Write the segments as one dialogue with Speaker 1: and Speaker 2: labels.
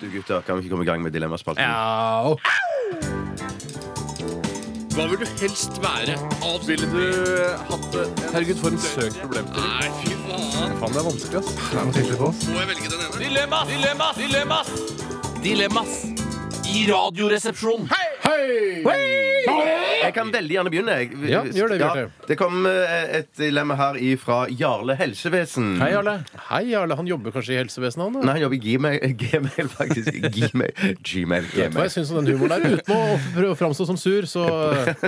Speaker 1: Du gutter, kan vi ikke komme i gang med Dilemmaspalten?
Speaker 2: Au!
Speaker 3: Hva vil du helst være? Avspille du
Speaker 4: Herregud, for en søk problem.
Speaker 3: Nei, fy faen.
Speaker 4: Faen, det er vanskelig, ass.
Speaker 3: Må jeg velge den ene?
Speaker 2: Dilemmas! Dilemmas! Dilemmas! Dilemmas i Radioresepsjonen.
Speaker 1: Jeg kan veldig gjerne begynne. Jeg.
Speaker 4: Ja, gjør det, Bjarte.
Speaker 1: det kom eh, et dilemma her fra Jarle Helsevesen.
Speaker 4: Hei, Jarle. Hei, Jarle. Han jobber kanskje i helsevesenet, han? da?
Speaker 1: Nei, han jobber i Gmail, Gmail faktisk. Gmail, Gmail,
Speaker 4: Vet du hva jeg
Speaker 1: Gmail.
Speaker 4: syns om den humoren der? Uten å prøve å framstå som sur, så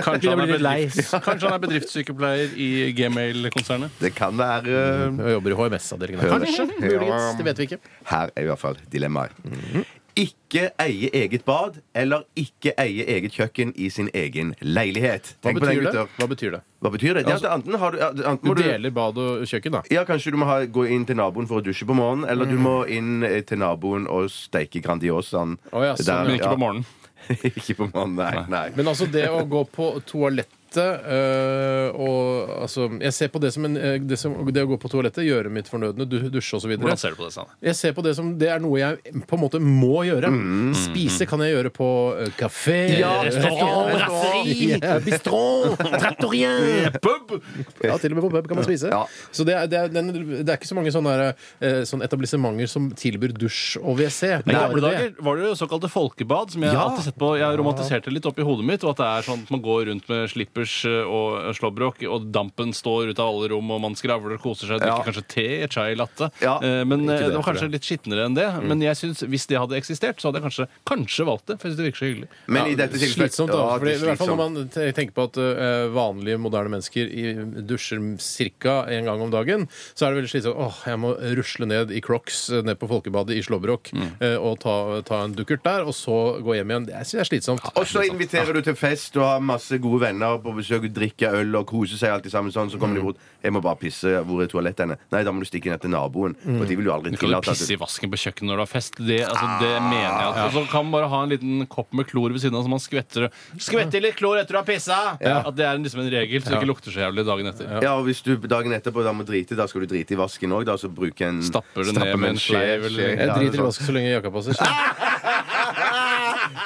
Speaker 4: kanskje han, er
Speaker 2: litt lei.
Speaker 4: bedrifts- kanskje han er bedriftssykepleier i Gmail-konsernet.
Speaker 1: Det kan være eh,
Speaker 4: Og jobber i HMS-avdelingen. Kanskje. Muligens. Det vet vi ikke.
Speaker 1: Her er i hvert fall dilemmaet.
Speaker 4: Mhm.
Speaker 1: Ikke eie eget bad eller ikke eie eget kjøkken i sin egen leilighet.
Speaker 4: Hva
Speaker 1: Tenk på den,
Speaker 4: betyr det?
Speaker 1: gutter.
Speaker 4: Hva betyr det?
Speaker 1: Hva betyr det? Ja,
Speaker 4: Altså,
Speaker 1: enten har du, ja, enten
Speaker 4: Du
Speaker 1: må du
Speaker 4: deler bad og kjøkken, da.
Speaker 1: ja, Kanskje du må ha, gå inn til naboen for å dusje på morgenen, eller
Speaker 4: Mm.
Speaker 1: du må inn eh, til naboen og steike Grandiosaen.
Speaker 4: Å ja, sånn,
Speaker 1: der,
Speaker 4: men
Speaker 3: Men ikke på morgenen.
Speaker 1: ikke på morgenen, nei. nei.
Speaker 4: Men altså, det å gå på toalettet øh, og altså, Jeg ser på det som, en, øh, det som det å gå på toalettet, gjøre mitt fornødne, du, dusje osv.
Speaker 3: Hvordan ser du på det, Sanne?
Speaker 4: Jeg ser på det som det er noe jeg på en måte må gjøre. Spise kan jeg gjøre på øh, kafé
Speaker 1: Ja,
Speaker 2: restaurant, brasseri,
Speaker 4: bistro, trattorien, pub! Ja, til og med på pub kan man spise.
Speaker 1: Ja.
Speaker 4: Så det er, det, er, den, det er ikke så mange sånne, der, øh, sånne etablissementer som tilbyr dusj og WC.
Speaker 3: I
Speaker 4: Bare
Speaker 3: gamle
Speaker 4: det.
Speaker 3: dager var det jo såkalte folkebad, som jeg
Speaker 1: Ja.
Speaker 3: alltid har sett på. Jeg romantiserte litt oppi hodet mitt, og at det er sånn at man går rundt med slippers eh, og slåbrok, og dampen står ut av alle rom, og man skravler og koser seg, drikker
Speaker 1: Ja.
Speaker 3: kanskje te, chai, latte.
Speaker 1: Ja.
Speaker 3: Eh, Men eh,
Speaker 4: det,
Speaker 3: det var
Speaker 4: tror jeg.
Speaker 3: kanskje litt skitnere enn det.
Speaker 1: Mm.
Speaker 3: Men jeg synes, hvis det hadde eksistert, så hadde jeg kanskje, kanskje valgt det, for jeg synes det virker så hyggelig.
Speaker 1: Men i dette tilfellet
Speaker 4: Slitsomt, da.
Speaker 1: Ja,
Speaker 4: fordi,
Speaker 1: det er
Speaker 4: I hvert fall
Speaker 1: slitsomt.
Speaker 4: når man te- tenker på at eh, vanlige, moderne mennesker i, dusjer ca. en gang om dagen, så er det veldig slitsomt. Åh, jeg må rusle ned i Crocs, eh, ned på Folkebadet i Slåbrok,
Speaker 1: Mm.
Speaker 4: eh, og ta, ta en dukkert der, og så gå hjem igjen. Det jeg synes jeg er slitsomt.
Speaker 1: Og så inviterer du til fest og har masse gode venner på besøk, drikker øl og koser seg alltid sammen sånn. Så kommer
Speaker 4: Mm.
Speaker 1: de bort. 'Jeg må bare pisse. Hvor er toalettet henne?' Nei, da må du stikke ned til naboen.
Speaker 4: Mm.
Speaker 1: For de vil jo aldri
Speaker 3: Du kan jo
Speaker 1: tillate at
Speaker 3: pisse
Speaker 1: du
Speaker 3: i vasken på kjøkkenet når du har fest. Det, altså, det
Speaker 1: Ah.
Speaker 3: mener jeg. At, Og så kan man bare ha en liten kopp med klor ved siden av, så man skvetter Skvetter litt klor etter du har pissa! At det er en- liksom en regel, så det ikke lukter så jævlig dagen etter.
Speaker 1: ja, og hvis du dagen etterpå da må drite, da skal du drite i vasken òg. Da så bruke en
Speaker 3: Stapper det
Speaker 1: stappe
Speaker 3: ned med en
Speaker 1: skje-
Speaker 3: sleiv eller-
Speaker 1: skje-
Speaker 4: Jeg
Speaker 1: Ja,
Speaker 4: driter i
Speaker 1: sånn.
Speaker 4: vasken så lenge jakka passer.
Speaker 1: Ah!
Speaker 4: så-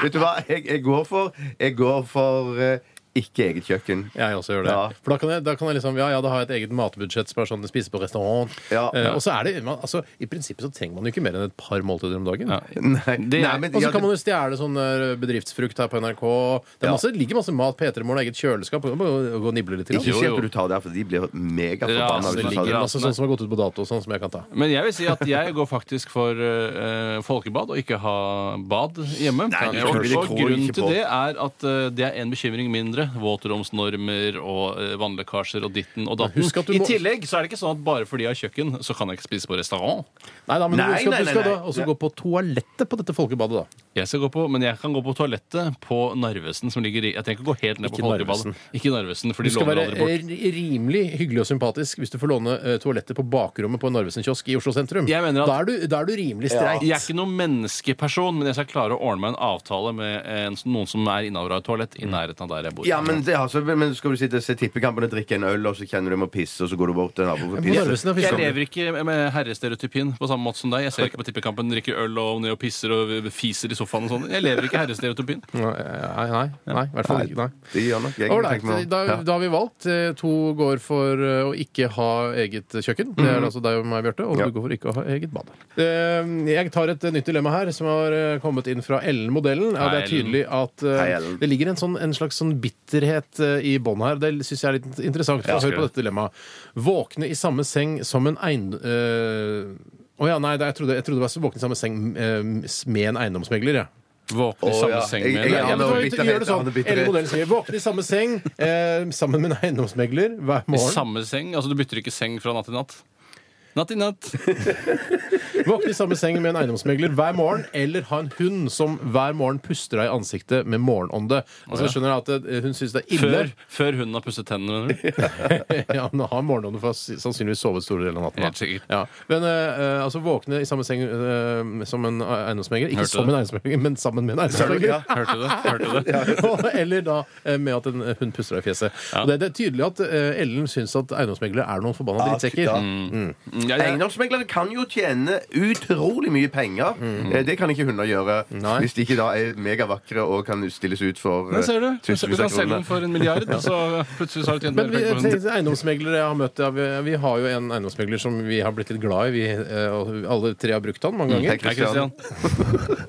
Speaker 1: Vet du hva jeg, jeg går for? Jeg går for eh, ikke eget kjøkken.
Speaker 4: Jeg også gjør det.
Speaker 1: Ja.
Speaker 4: For da kan, jeg, da kan jeg liksom Ja, ja, da har jeg et eget matbudsjett som er sånn spise på restaurant.
Speaker 1: Ja.
Speaker 4: Eh, og så er det man, altså, I prinsippet så trenger man jo ikke mer enn et par måltider om dagen.
Speaker 3: Ja.
Speaker 1: Nei,
Speaker 3: Det er-
Speaker 1: nei, men
Speaker 4: Og så
Speaker 1: ja,
Speaker 4: kan man jo stjele sånn eh, bedriftsfrukt her på NRK. Det
Speaker 1: Ja.
Speaker 4: er masse, ligger masse mat. P3 Morgen har eget kjøleskap. Gå gå og nible litt. Til,
Speaker 1: Ikke
Speaker 3: Jo,
Speaker 1: si
Speaker 3: jo.
Speaker 1: at du tar det her, for de blir
Speaker 3: Ja,
Speaker 1: megaforbanna.
Speaker 3: altså,
Speaker 1: hvis
Speaker 4: det
Speaker 1: du tar
Speaker 4: ligger
Speaker 1: det.
Speaker 4: masse sånn som har gått ut på dato, og sånn som jeg kan ta.
Speaker 3: Men jeg vil si at jeg går faktisk for eh, folkebad og ikke ha bad hjemme.
Speaker 1: Nei, det
Speaker 3: og,
Speaker 1: tror jeg ikke
Speaker 3: og
Speaker 1: på.
Speaker 3: grunnen til det er at eh, det er en bekymring mindre. Våtromsnormer og eh, vannlekkasjer og ditten og datten.
Speaker 4: Husk at du
Speaker 3: I
Speaker 4: må-
Speaker 3: tillegg så er det ikke sånn at bare fordi jeg har kjøkken, så kan jeg ikke spise på restaurant.
Speaker 4: Nei da, men
Speaker 1: Nei,
Speaker 4: du skal,
Speaker 1: nei,
Speaker 4: du
Speaker 1: nei,
Speaker 4: skal
Speaker 1: nei.
Speaker 4: da også gå på toalettet på dette folkebadet, da.
Speaker 3: Jeg skal gå på, men jeg kan gå på toalettet på Narvesen, som ligger i Jeg trenger ikke gå helt ned
Speaker 4: Ikke
Speaker 3: på Folkebadet.
Speaker 4: Narvesen.
Speaker 3: Ikke Narvesen, for
Speaker 4: Du
Speaker 3: de
Speaker 4: skal
Speaker 3: låner
Speaker 4: være
Speaker 3: aldri bort.
Speaker 4: eh, rimelig hyggelig og sympatisk hvis du får låne eh, toalettet på bakrommet på en Narvesen-kiosk i Oslo sentrum.
Speaker 3: Jeg mener at-
Speaker 4: da, er du, da er du rimelig streit.
Speaker 3: Jeg er ikke noen menneskeperson, men jeg skal klare å ordne meg en avtale med en, noen som er innehaver av et toalett i nærheten av der jeg bor.
Speaker 1: Ja, men, det, altså, men skal du sitte og se tippekampen og drikke en øl, og så kjenner du du må pisse, og så går du bort til naboen for å
Speaker 4: På
Speaker 1: pisse?
Speaker 4: Narvesen er
Speaker 3: Jeg
Speaker 4: fiskehandel.
Speaker 3: lever ikke med herrestereotypien på samme måte som deg. Jeg ser ikke på tippekampen, drikker øl og ned og pisser og fiser i sofaen og sånn. Jeg lever ikke i herrestereotypien.
Speaker 4: Nei, nei, nei, i hvert fall ikke. Nei.
Speaker 1: Det gjør nok jeg.
Speaker 4: Ålreit.
Speaker 1: tenker meg om.
Speaker 4: Da,
Speaker 1: Ja.
Speaker 4: da har vi valgt. Eh, To går for eh, å ikke ha eget kjøkken. Det er altså deg og meg, Bjarte. Og
Speaker 1: Mhm. Ja.
Speaker 4: du går for ikke å ha eget bad. Eh, Jeg tar et eh, nytt dilemma her, som har eh, kommet inn fra Ellen-modellen. Ja, det
Speaker 3: Hei,
Speaker 4: er tydelig at eh,
Speaker 1: Hei, Ellen.
Speaker 4: det ligger en, sånn, en slags sånn bitterhet eh, i bånn her. Det syns jeg er litt interessant.
Speaker 3: Ja,
Speaker 4: Få høre
Speaker 3: skal
Speaker 4: på dette dilemmaet. Våkne i samme seng som en eiendom... Å ja, nei, det- jeg trodde, jeg trodde det var så våkne i samme seng eh, med en eiendomsmegler, jeg.
Speaker 3: Våkne i
Speaker 1: Å,
Speaker 3: samme
Speaker 1: ja.
Speaker 3: seng
Speaker 1: Jeg-
Speaker 3: med
Speaker 1: jeg-
Speaker 3: en
Speaker 4: Ja,
Speaker 1: Ja,
Speaker 4: men
Speaker 1: men
Speaker 4: så
Speaker 1: det var
Speaker 4: vi-
Speaker 1: bitterhet,
Speaker 4: gjør det sånn.
Speaker 1: ja, det var bitterhet.
Speaker 4: Eller modellen sier våkne i samme seng eh, sammen med en eiendomsmegler hver
Speaker 3: I
Speaker 4: morgen.
Speaker 3: samme seng? Altså, du bytter ikke seng fra natt til natt? Natt til natt.
Speaker 4: Våkne i samme seng med en eiendomsmegler hver morgen, eller ha en hund som hver morgen puster deg i ansiktet med morgenånde. Altså, jeg skjønner at eh, hun syns det er ille.
Speaker 3: Før, før hunden har pusset tennene, mener du?
Speaker 4: ja, men har morgenånde for å s- sannsynligvis sovet store deler av natten. da.
Speaker 3: Helt sikkert.
Speaker 4: Ja. Men eh, eh, altså våkne i samme seng eh, som en eiendomsmegler. Ikke
Speaker 3: Hørte
Speaker 4: som
Speaker 3: det.
Speaker 4: en eiendomsmegler, men sammen med en
Speaker 1: du?
Speaker 4: eiendomsmegler.
Speaker 1: Ja.
Speaker 3: Hørte du det? Hørte du det?
Speaker 4: Og- Eller da eh, med at en hund puster deg i fjeset. Og det, det er tydelig at eh, Ellen syns at eiendomsmeglere er noen forbanna
Speaker 1: Ja,
Speaker 4: drittsekker.
Speaker 1: ja.
Speaker 4: Mm.
Speaker 3: ja, ja.
Speaker 1: Eiendomsmeglere kan jo tjene utrolig mye penger.
Speaker 3: Mm.
Speaker 1: Eh, Det kan ikke hunder gjøre
Speaker 4: Nei.
Speaker 1: hvis de ikke da er megavakre og kan stilles ut for eh,
Speaker 3: Men ser du, hvis du
Speaker 1: tusenvis
Speaker 3: kan
Speaker 1: av
Speaker 3: selge den
Speaker 1: kroner.
Speaker 3: for en milliard, og så plutselig så har du tjent mer
Speaker 4: Men vi,
Speaker 3: penger på
Speaker 4: tenk-
Speaker 3: hunden.
Speaker 4: eiendomsmeglere jeg har møtt ja, vi, vi har jo en eiendomsmegler som vi har blitt litt glad i. Vi, eh, og alle tre har brukt han mange
Speaker 1: Hei,
Speaker 4: ganger.
Speaker 3: Hei,
Speaker 1: Christian.
Speaker 3: Christian.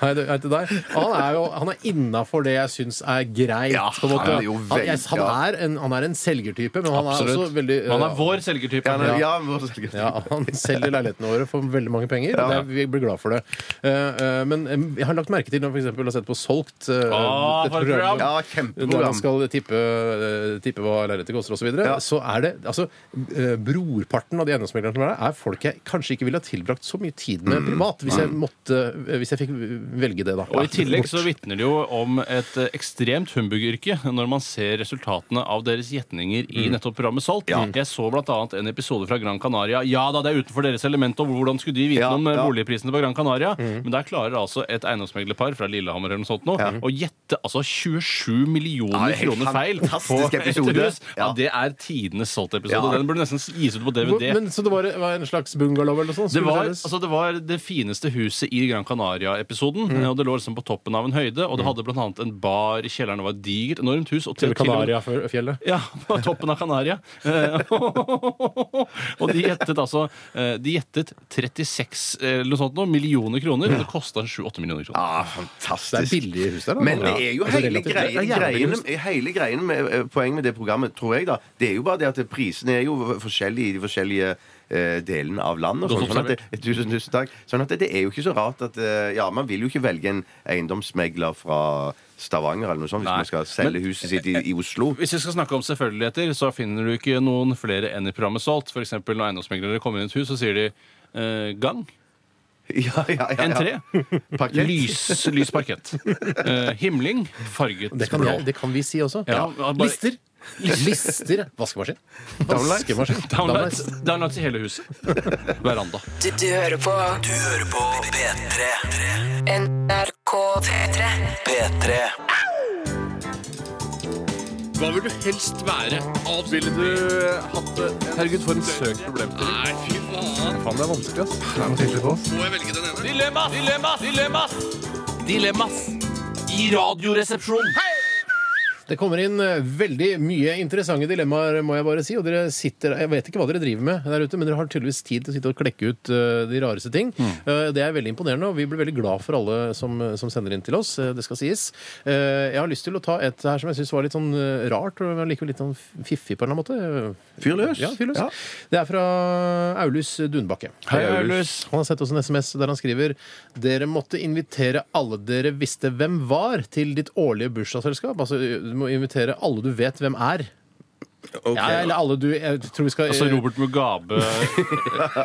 Speaker 4: Hei, du- hei til deg. Han er jo han er innafor det jeg syns er greit.
Speaker 1: Ja,
Speaker 4: på en måte.
Speaker 1: han er jo
Speaker 4: han, jeg,
Speaker 1: veldig-
Speaker 4: han,
Speaker 1: ja.
Speaker 4: er en, han er en selgertype, men han er
Speaker 3: Absolutt.
Speaker 4: også veldig eh,
Speaker 3: Han er vår selgertype.
Speaker 1: Ja, nei, ja, må selge.
Speaker 4: Ja, Han selger leilighetene våre for veldig mange penger. og Det er, vi blir glad for det. Eh, eh, men eh, jeg har lagt merke til når jeg har sett på Solgt eh,
Speaker 3: Åh,
Speaker 4: dette
Speaker 3: for Ah, et program.
Speaker 1: Ja,
Speaker 4: når man
Speaker 1: kjempeprogram.
Speaker 4: skal tippe, eh, tippe hva lerretet koster osv., så, videre,
Speaker 1: Ja.
Speaker 4: så er det altså eh, Brorparten av de eiendomsmeglerne som er der, er folk jeg kanskje ikke ville ha tilbrakt så mye tid med
Speaker 1: Mm.
Speaker 4: privat, hvis jeg måtte eh, Hvis jeg fikk velge det, da.
Speaker 3: Og I tillegg så vitner det jo om et eh, ekstremt humbugyrke når man ser resultatene av deres gjetninger
Speaker 1: Mm.
Speaker 3: i nettopp programmet Salt. Jeg så bl.a. en episode fra Gran Canaria. Ja da, det er utenfor deres element, og hvordan skulle de vite
Speaker 1: Ja,
Speaker 3: noe om eh,
Speaker 1: ja. Mm.
Speaker 3: boligprisene på Gran Canaria? Men der klarer altså et eiendomsmeglerpar fra Lillehammer eller noe sånt nå å gjette altså 27
Speaker 1: Ja,
Speaker 3: millioner
Speaker 1: det er helt
Speaker 3: kroner feil på
Speaker 1: fantastisk
Speaker 3: et
Speaker 1: episode.
Speaker 3: hus. Ja,
Speaker 1: Ja.
Speaker 3: det er tidenes Salt-episode.
Speaker 1: Ja.
Speaker 3: Den burde nesten gis ut på DVD.
Speaker 4: Men Så det var, var en slags bungalow eller noe sånt?
Speaker 3: Det
Speaker 4: skulle
Speaker 3: var,
Speaker 4: selges?
Speaker 3: altså, det var det fineste huset i Gran Canaria-episoden. Og Det lå liksom på toppen av en høyde, og det hadde blant annet en bar i kjelleren. Det var et digert, enormt hus. Og til,
Speaker 4: Eller
Speaker 3: til og med-
Speaker 4: Kanariafjellet?
Speaker 3: ja, på toppen av Kanaria. Eh, og de gjettet altså eh, De gjettet 36 eh, eller noe sånt nå, millioner kroner. og Det kosta 7-8 millioner kroner.
Speaker 1: Ah,
Speaker 4: Det er
Speaker 1: fantastisk.
Speaker 4: billige hus der, da.
Speaker 1: Men det er jo
Speaker 4: Altså,
Speaker 1: hele
Speaker 4: relativt- det er
Speaker 1: greien,
Speaker 4: jævlig billige
Speaker 1: greien,
Speaker 4: hus.
Speaker 1: hele greien med eh, poenget med det programmet, tror jeg, da, det er jo bare det at prisene er jo forskjellige i de forskjellige eh, delene av landet. og Sånn,
Speaker 3: Godt
Speaker 1: sånn at det, tusen, tusen takk. Sånn at det, det er jo ikke så rart at eh, Ja, man vil jo ikke velge en eiendomsmegler fra Stavanger eller noe sånt hvis
Speaker 3: Nei.
Speaker 1: man skal selge
Speaker 3: Men-
Speaker 1: huset sitt i, i Oslo.
Speaker 3: Hvis vi skal snakke om selvfølgeligheter, så finner du ikke noen flere enn i programmet Salt. For eksempel når eiendomsmeglere kommer inn i et hus, så sier de eh, gang.
Speaker 1: Ja, ja, ja, ja.
Speaker 3: Entré.
Speaker 1: Parkett.
Speaker 3: Lys, lys parkett. Eh, himling. Farget
Speaker 4: Det kan,
Speaker 3: blå.
Speaker 4: jeg, det kan vi si også.
Speaker 3: Ja, bare-
Speaker 4: Lister. Lister. Vaskemaskin.
Speaker 1: Downlights.
Speaker 4: Vaskemaskin.
Speaker 3: Downlights. Downlights i hele huset. Veranda.
Speaker 5: Du, du hører på
Speaker 6: Du hører på P3.
Speaker 5: NRK P3.
Speaker 6: P3.
Speaker 2: Hva vil du helst være? Ville du eh, hatt det? Herregud, for en søk problemstilling. Nei, fy faen. det er vanskelig, ass. Det er noe tydelig på oss. Må jeg velge den ene? Dilemmas! Dilemmas! Dilemmas! Dilemmas i radioresepsjonen.
Speaker 4: Det kommer inn eh, veldig mye interessante dilemmaer, må jeg bare si. Og dere sitter Jeg vet ikke hva dere driver med der ute, men dere har tydeligvis tid til å sitte og klekke ut eh, de rareste ting.
Speaker 1: Mm.
Speaker 4: Eh, det er veldig imponerende, og vi blir veldig glad for alle som, som sender inn til oss. eh, det skal sies. Eh, jeg har lyst til å ta et her som jeg syns var litt sånn eh, rart, og likevel litt sånn fiffig på en eller annen måte.
Speaker 1: Fyr løs.
Speaker 4: Ja, fyr løs.
Speaker 1: Ja.
Speaker 4: Det er fra Aulus Dunbakke.
Speaker 3: Hei, Aulus.
Speaker 4: Han har sett oss en SMS der han skriver Dere måtte invitere alle dere visste hvem var, til ditt årlige bursdagsselskap. Altså, du må invitere alle du vet hvem er. Ja, eller alle du Jeg tror vi skal eh,
Speaker 3: Altså Robert Mugabe.
Speaker 1: Det var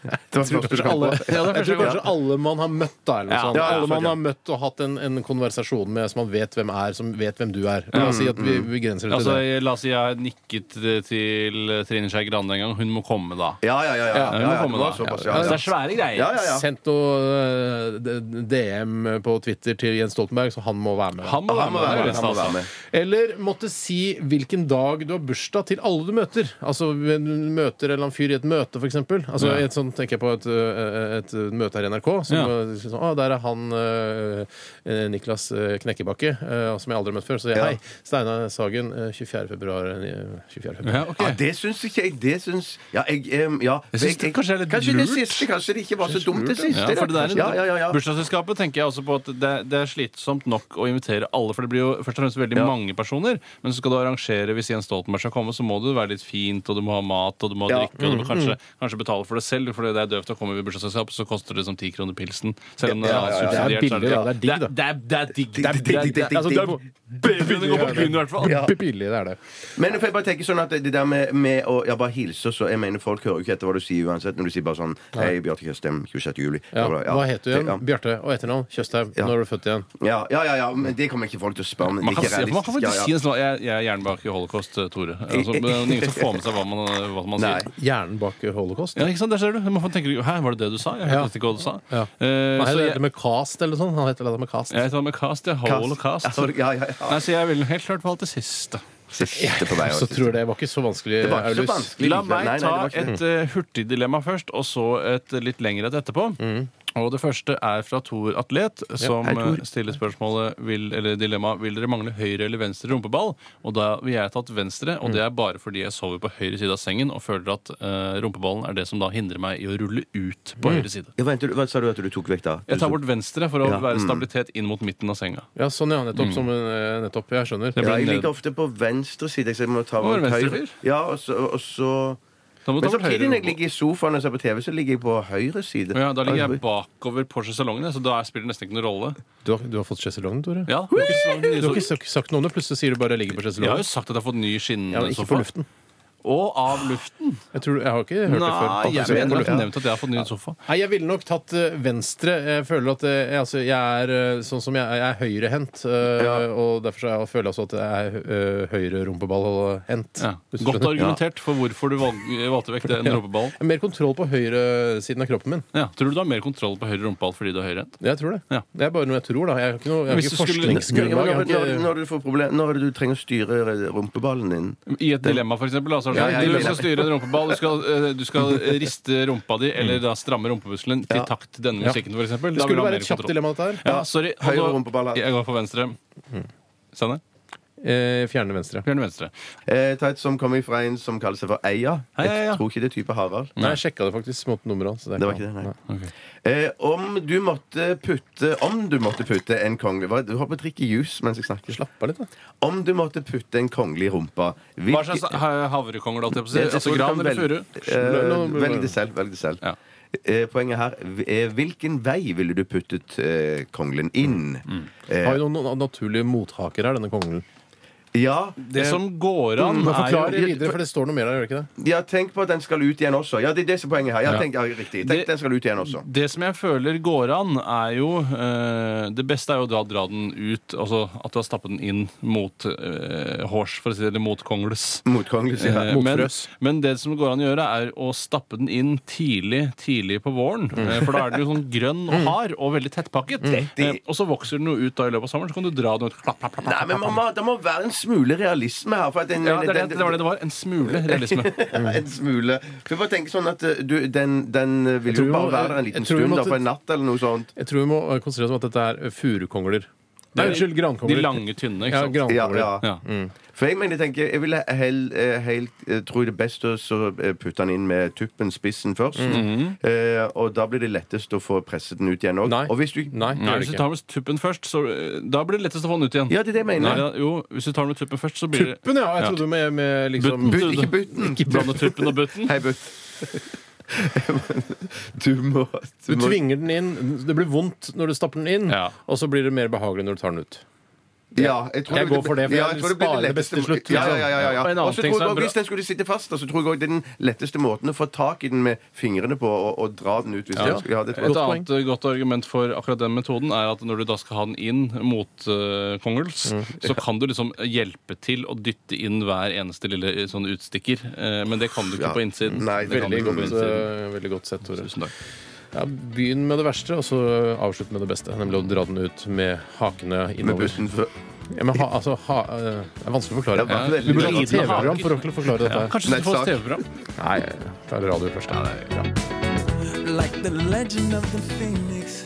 Speaker 1: første du
Speaker 4: Kanskje
Speaker 1: kom
Speaker 4: alle,
Speaker 1: på.
Speaker 4: jeg tror kanskje alle man har møtt, da. Eller noe
Speaker 3: Ja,
Speaker 4: sånt.
Speaker 1: ja,
Speaker 4: alle man
Speaker 1: ja.
Speaker 4: har møtt og hatt en, en konversasjon med, som man vet hvem er, som vet hvem du er. La oss si at vi vi begrenser det til
Speaker 3: Altså,
Speaker 4: det.
Speaker 3: jeg- la oss si jeg nikket eh, til Trine Skei Grande en gang. Hun må komme, da.
Speaker 1: Ja, ja, ja. ja, ja,
Speaker 3: Hun
Speaker 1: ja,
Speaker 3: må
Speaker 1: ja,
Speaker 3: komme,
Speaker 1: det
Speaker 3: da.
Speaker 1: var såpass,
Speaker 3: Altså,
Speaker 1: ja,
Speaker 3: Det er svære greier.
Speaker 1: ja, ja, ja.
Speaker 4: Sendt noe eh, d- DM på Twitter til Jens Stoltenberg, så han må være med.
Speaker 3: Han må være
Speaker 1: Han må
Speaker 3: med.
Speaker 1: være
Speaker 3: det er
Speaker 1: med. Han må være
Speaker 3: stas, da.
Speaker 1: med.
Speaker 4: Eller måtte si hvilken dag du har bursdag til alle du møter. Altså hvem du møter en eller annen fyr i et møte, f.eks. Altså,
Speaker 3: Ja.
Speaker 4: i et sånt, tenker jeg på et, ø, et møte her i NRK. Som,
Speaker 3: Ja.
Speaker 4: ø, sier sånn, å, der er han ø, ø, Niklas ø, Knekkebakke, ø, som jeg aldri har møtt før. Så sier jeg
Speaker 1: Ja.
Speaker 4: hei, Steinar Sagen, ø, 24. februar. ø, 24. februar.
Speaker 3: Ja, ok.
Speaker 1: Ja, det syns ikke jeg. Det syns Ja, jeg em, ja.
Speaker 3: Jeg syns det kanskje er litt
Speaker 1: kanskje
Speaker 3: lurt.
Speaker 1: det siste. Kanskje det ikke var så dumt, det siste.
Speaker 3: Ja,
Speaker 1: da.
Speaker 3: for det der,
Speaker 1: ja, ja, ja, ja.
Speaker 3: Bursdagsselskapet tenker jeg også på at det, det er slitsomt nok å invitere alle, for det blir jo først og fremst veldig
Speaker 1: Ja.
Speaker 3: mange personer. Men så skal du arrangere hvis Jens Stoltenberg skal komme, så må det være litt fint, og du må ha mat, og du må ha
Speaker 1: Ja.
Speaker 3: drikke, og du må kanskje, kanskje betale for det selv, for det er døvt å komme ved bursdagsselskap, så koster det som 10 kroner pilsen. Selv om det
Speaker 1: Ja, ja,
Speaker 3: er
Speaker 1: ja.
Speaker 3: subsidiert.
Speaker 4: Det er
Speaker 3: så
Speaker 4: billig, da. Det er digg, da.
Speaker 3: Det er, det er digg. Det er
Speaker 1: Digg, digg, digg, digg, digg,
Speaker 3: Altså, det er
Speaker 1: digg.
Speaker 3: bedre enn å gå på byen, i hvert fall.
Speaker 1: Ja.
Speaker 4: Billig, det er det.
Speaker 1: Men får jeg bare tenke sånn at det der med, med å ja, bare hilse så Jeg mener Folk hører jo ikke etter hva du sier uansett. Når du sier bare sånn Hei, Bjarte Tjøstheim, 26. juli.
Speaker 4: Ja.
Speaker 1: Bla, bla, ja.
Speaker 4: Hva heter du
Speaker 1: Ja.
Speaker 4: igjen? Bjarte. Og etternavn? Tjøstheim.
Speaker 1: Ja.
Speaker 4: Når er du født igjen?
Speaker 1: Ja, ja, ja, ja, men det kommer ikke folk til å spørre om.
Speaker 3: Man kan,
Speaker 1: Det er
Speaker 3: si,
Speaker 1: ikke
Speaker 3: man kan
Speaker 1: realistisk,
Speaker 3: faktisk
Speaker 1: ja,
Speaker 3: si
Speaker 1: ja.
Speaker 3: en sånn Jeg, jeg er hjernen bak i holocaust, Tore. Altså, men det er ingen som får med seg hva man, eh, hva man sier.
Speaker 1: Nei.
Speaker 4: Hjernen bak holocaust?
Speaker 3: Ja, ikke sant, der ser du. Man tenker, Hæ, var det det du sa? Jeg hørte
Speaker 4: Ja.
Speaker 3: ikke hva du sa.
Speaker 4: Ja.
Speaker 3: Eh,
Speaker 4: Nei,
Speaker 3: så
Speaker 4: det
Speaker 3: jeg,
Speaker 4: heter med cast eller sånn. Han heter det med cast.
Speaker 3: jeg heter med cast, jeg. Holocaust.
Speaker 1: Ja, ja, ja.
Speaker 3: Nei, så jeg ville helt klart valgt det siste.
Speaker 1: Siste på vei. altså.
Speaker 4: Så tror jeg det var ikke så vanskelig.
Speaker 1: Det var ikke så
Speaker 4: Aulus.
Speaker 1: vanskelig.
Speaker 3: La
Speaker 1: likevel. Nei,
Speaker 3: meg
Speaker 1: nei, det
Speaker 3: ta
Speaker 1: var ikke det.
Speaker 3: et eh, hurtigdilemma først, og så et litt lengre et etterpå. Og det første er fra Tor Atlet, som
Speaker 1: Mm. hei, Tor.
Speaker 3: eh, stiller spørsmålet vil, eller dilemma, vil dere mangle høyre eller venstre rumpeball. Og da vil jeg tatt venstre, og
Speaker 1: Mm.
Speaker 3: det er bare fordi jeg sover på høyre side av sengen og føler at eh, rumpeballen er det som da hindrer meg i å rulle ut på høyre side.
Speaker 1: Ja, vent, hva sa Mm. du at du tok vekk da?
Speaker 3: Jeg tar bort venstre for å
Speaker 1: Ja,
Speaker 3: være
Speaker 1: mm.
Speaker 3: stabilitet inn mot midten av senga.
Speaker 4: Ja, sånn, ja. Nettopp. Som, eh, nettopp. Jeg skjønner.
Speaker 3: Det
Speaker 1: ja, jeg
Speaker 3: ned.
Speaker 1: ligger ofte på venstre side. Så jeg må ta
Speaker 3: Å, er du
Speaker 1: vårt høyre.
Speaker 3: venstrefyr?
Speaker 1: Ja, og så, og så
Speaker 3: Da må du
Speaker 1: Men
Speaker 3: ta
Speaker 1: samtidig
Speaker 3: bort høyre
Speaker 1: når jeg
Speaker 3: rumpeball.
Speaker 1: ligger i sofaen og ser på TV, så ligger jeg på høyre side. Altså,
Speaker 3: Ja, da ligger jeg bakover Porsche-salongen, jeg, så da spiller det nesten ikke noen rolle.
Speaker 4: Du har, du har fått sjeselongen, Tore?
Speaker 3: Ja, det er ikke så langt
Speaker 4: Du har
Speaker 3: nye
Speaker 4: ikke sagt, sagt noe om det. Plutselig sier du bare 'jeg ligger på
Speaker 3: Jeg har jo
Speaker 4: sjeselongen'.
Speaker 3: sagt at jeg har fått ny
Speaker 4: Ja, men ikke
Speaker 3: skinnsofa.
Speaker 4: på luften.
Speaker 3: og av luften.
Speaker 4: Jeg, tror, jeg har ikke hørt det før.
Speaker 3: Nei,
Speaker 4: Så
Speaker 3: jeg mener
Speaker 4: på
Speaker 3: at jeg
Speaker 4: luften.
Speaker 3: har nevnt at jeg har fått ny sofa.
Speaker 4: Nei, jeg ville nok tatt eh, venstre. Jeg føler at eh, jeg, altså, jeg er eh, sånn som jeg, er- jeg er høyrehendt. eh, Og derfor så er jeg, føler jeg også at jeg er eh, høyre rumpeballhendt.
Speaker 3: Ja.
Speaker 4: hvis du
Speaker 3: Godt
Speaker 4: skjønner.
Speaker 3: argumentert for hvorfor du valg- valgte vekk den rumpeballen.
Speaker 4: Jeg har Mer kontroll på høyresiden av kroppen min.
Speaker 3: Ja. Tror du du har mer kontroll på høyre rumpeball fordi du er høyrehendt?
Speaker 4: Jeg tror det.
Speaker 3: Ja.
Speaker 4: Det er bare noe jeg tror, da. Jeg har ikke noe jeg har ikke
Speaker 3: Hvis du skulle-
Speaker 1: Ja, men
Speaker 4: forskningsgrunnlag.
Speaker 1: Når,
Speaker 4: jeg har
Speaker 1: når,
Speaker 4: ikke-
Speaker 1: når, du får problem, når er det du trenger å styre rumpeballen din?
Speaker 3: I et dilemma, f.eks. Altså,
Speaker 1: Ja, ja,
Speaker 3: du
Speaker 1: ja.
Speaker 3: skal styre en rumpeball, du skal, eh, du skal riste rumpa di, eller da stramme rumpemuskelen til takt til denne musikken, f.eks.
Speaker 4: Mm. Det skulle være et kjapt dilemma, dette her.
Speaker 3: Ja, sorry.
Speaker 1: Høyre
Speaker 3: Hold nå-
Speaker 1: rumpeball her.
Speaker 3: Jeg går for venstre.
Speaker 4: Mm.
Speaker 3: Steinar?
Speaker 4: Eh, Fjerne venstre.
Speaker 3: Bjørn venstre.
Speaker 1: Eh, ta et som kommer fra en som kaller seg for Eia.
Speaker 3: Hei, Eia.
Speaker 1: Jeg tror ikke det er type Harald.
Speaker 4: Nei, jeg sjekka det faktisk mot nummeret hans.
Speaker 1: Det var ikke det, nei. Eh, om du måtte putte Om du måtte putte en kongelig Hva- Du håper jeg drikker juice mens jeg snakker.
Speaker 4: Slapp av litt, da.
Speaker 1: Om du måtte putte en kongelig i rumpa hvilke-
Speaker 3: Hva slags ha- havrekonger, da? holdt jeg på å si?
Speaker 1: Jeg tror
Speaker 3: Altså
Speaker 1: du kan
Speaker 3: gran eller furu?
Speaker 1: vel- Eh, velg det selv. Velg det selv.
Speaker 3: Ja.
Speaker 1: Eh, poenget her er hvilken vei ville du puttet eh, kongelen inn? Eh.
Speaker 4: Har jo noen naturlige mothaker her, denne kongelen.
Speaker 1: Ja,
Speaker 3: Det som går an,
Speaker 4: Mm, Men
Speaker 3: er jo
Speaker 4: Forklar videre, for det står noe mer der, gjør det ikke det?
Speaker 1: ja, tenk på at den skal ut igjen også. Ja, det er det som er poenget her. Ja, tenk, ja, riktig. Tenk
Speaker 3: Det-
Speaker 1: den skal ut igjen også.
Speaker 3: Det som jeg føler går an, er jo eh, Det beste er jo da å dra den ut. Altså at du har stappet den inn mot eh, hårs, for å si det, eller mot kongles.
Speaker 1: Mot kongen, sier
Speaker 3: Eh,
Speaker 1: jeg.
Speaker 4: mot
Speaker 3: men,
Speaker 4: frøs.
Speaker 3: men det som går an å gjøre, er å stappe den inn tidlig tidlig på våren. eh, For da er den jo sånn grønn og hard og veldig tettpakket. Eh, Og så vokser den jo ut da i løpet av sommeren, så kan du dra den ut. Klapp, klapp, klapp,
Speaker 1: Nei,
Speaker 3: klapp,
Speaker 1: men
Speaker 3: klapp.
Speaker 1: man må, det må være en smule realisme her. For at den,
Speaker 3: Ja, det, er det, det var det det var. En smule realisme.
Speaker 1: en smule. For jeg bare tenker sånn at eh, du, den, den eh, vil
Speaker 4: tror
Speaker 1: jo
Speaker 4: vi
Speaker 1: bare
Speaker 4: må-
Speaker 1: være der en
Speaker 4: jeg
Speaker 1: liten
Speaker 4: tror vi
Speaker 1: stund, da,
Speaker 4: måtte-
Speaker 1: for en natt eller noe sånt.
Speaker 4: Jeg tror vi må eh, konsentrere oss om at dette er furukongler. Nei, unnskyld,
Speaker 3: De
Speaker 4: grankongler.
Speaker 3: lange, tynne.
Speaker 4: ja,
Speaker 3: ikke sant?
Speaker 1: Ja,
Speaker 4: grankongler.
Speaker 1: ja.
Speaker 3: Ja.
Speaker 1: For jeg mener, jeg tenker, jeg ville helt, helt eh, tror det er best å så, eh, putte den inn med tuppen, spissen, først. eh, og da blir det lettest å få presset den ut igjen
Speaker 4: Mhm. Nei.
Speaker 1: òg. Og hvis du
Speaker 4: Nei, det
Speaker 3: Nei,
Speaker 4: er
Speaker 3: hvis
Speaker 4: det ikke.
Speaker 3: du tar med tuppen først, så eh, Da blir det lettest å få den ut igjen.
Speaker 1: Ja, det er det jeg mener.
Speaker 3: Nei, da, jo, hvis du tar den med tuppen først, så blir det
Speaker 4: Tuppen, ja. Jeg trodde med, med liksom
Speaker 3: Butten.
Speaker 1: Butt, ikke butten!
Speaker 3: Ikke blande tuppen og butten.
Speaker 1: Hei, Butt. du må
Speaker 4: Du
Speaker 1: må-
Speaker 4: tvinger den inn. Det blir vondt når du stapper den inn,
Speaker 3: Ja.
Speaker 4: og så blir det mer behagelig når du tar den ut.
Speaker 1: Ja, jeg tror
Speaker 4: Jeg
Speaker 1: blir-
Speaker 4: går for det, for
Speaker 1: ja,
Speaker 4: jeg
Speaker 1: tror blir
Speaker 4: sparer det
Speaker 1: letteste-
Speaker 4: beste til slutt,
Speaker 1: Ja,
Speaker 4: liksom.
Speaker 1: ja, ja, ja, ja.
Speaker 3: Og en annen
Speaker 1: Og så
Speaker 3: ting
Speaker 1: tror
Speaker 3: som
Speaker 1: jeg
Speaker 3: er
Speaker 1: også,
Speaker 3: bra-
Speaker 1: Hvis den skulle sitte fast, da, så tror jeg også det er den letteste måten å få tak i den med fingrene på og, og dra den ut. Hvis den skulle- ja, det tror
Speaker 3: Et
Speaker 1: jeg.
Speaker 3: annet eh, godt argument for akkurat den metoden er at når du da skal ha den inn mot eh, kongels,
Speaker 1: Mm.
Speaker 3: så kan du liksom hjelpe til å dytte inn hver eneste lille eh, sånn utstikker. Eh, men det kan du
Speaker 1: Ja.
Speaker 3: ikke på innsiden.
Speaker 1: Nei,
Speaker 3: det kan
Speaker 1: veldig
Speaker 3: du ikke på
Speaker 1: godt,
Speaker 3: innsiden.
Speaker 4: eh, veldig godt sett, Tore.
Speaker 3: Tusen takk.
Speaker 4: Ja, begynn med det verste, og så avslutt med det beste. Nemlig å dra den ut med hakene
Speaker 1: Med
Speaker 4: innover.
Speaker 1: butten før.
Speaker 4: Ja, men ha, altså, ha, eh, det er vanskelig å forklare.
Speaker 1: Det var veldig
Speaker 4: Vi burde ha
Speaker 1: liten
Speaker 4: et TV-program for å forklare dette.
Speaker 3: Ja,
Speaker 4: her.
Speaker 3: kanskje du
Speaker 1: Neste
Speaker 3: får
Speaker 1: sak.
Speaker 3: et TV-program?
Speaker 4: Nei, det er radio først. da. Ja.
Speaker 6: Like the legend of the phoenix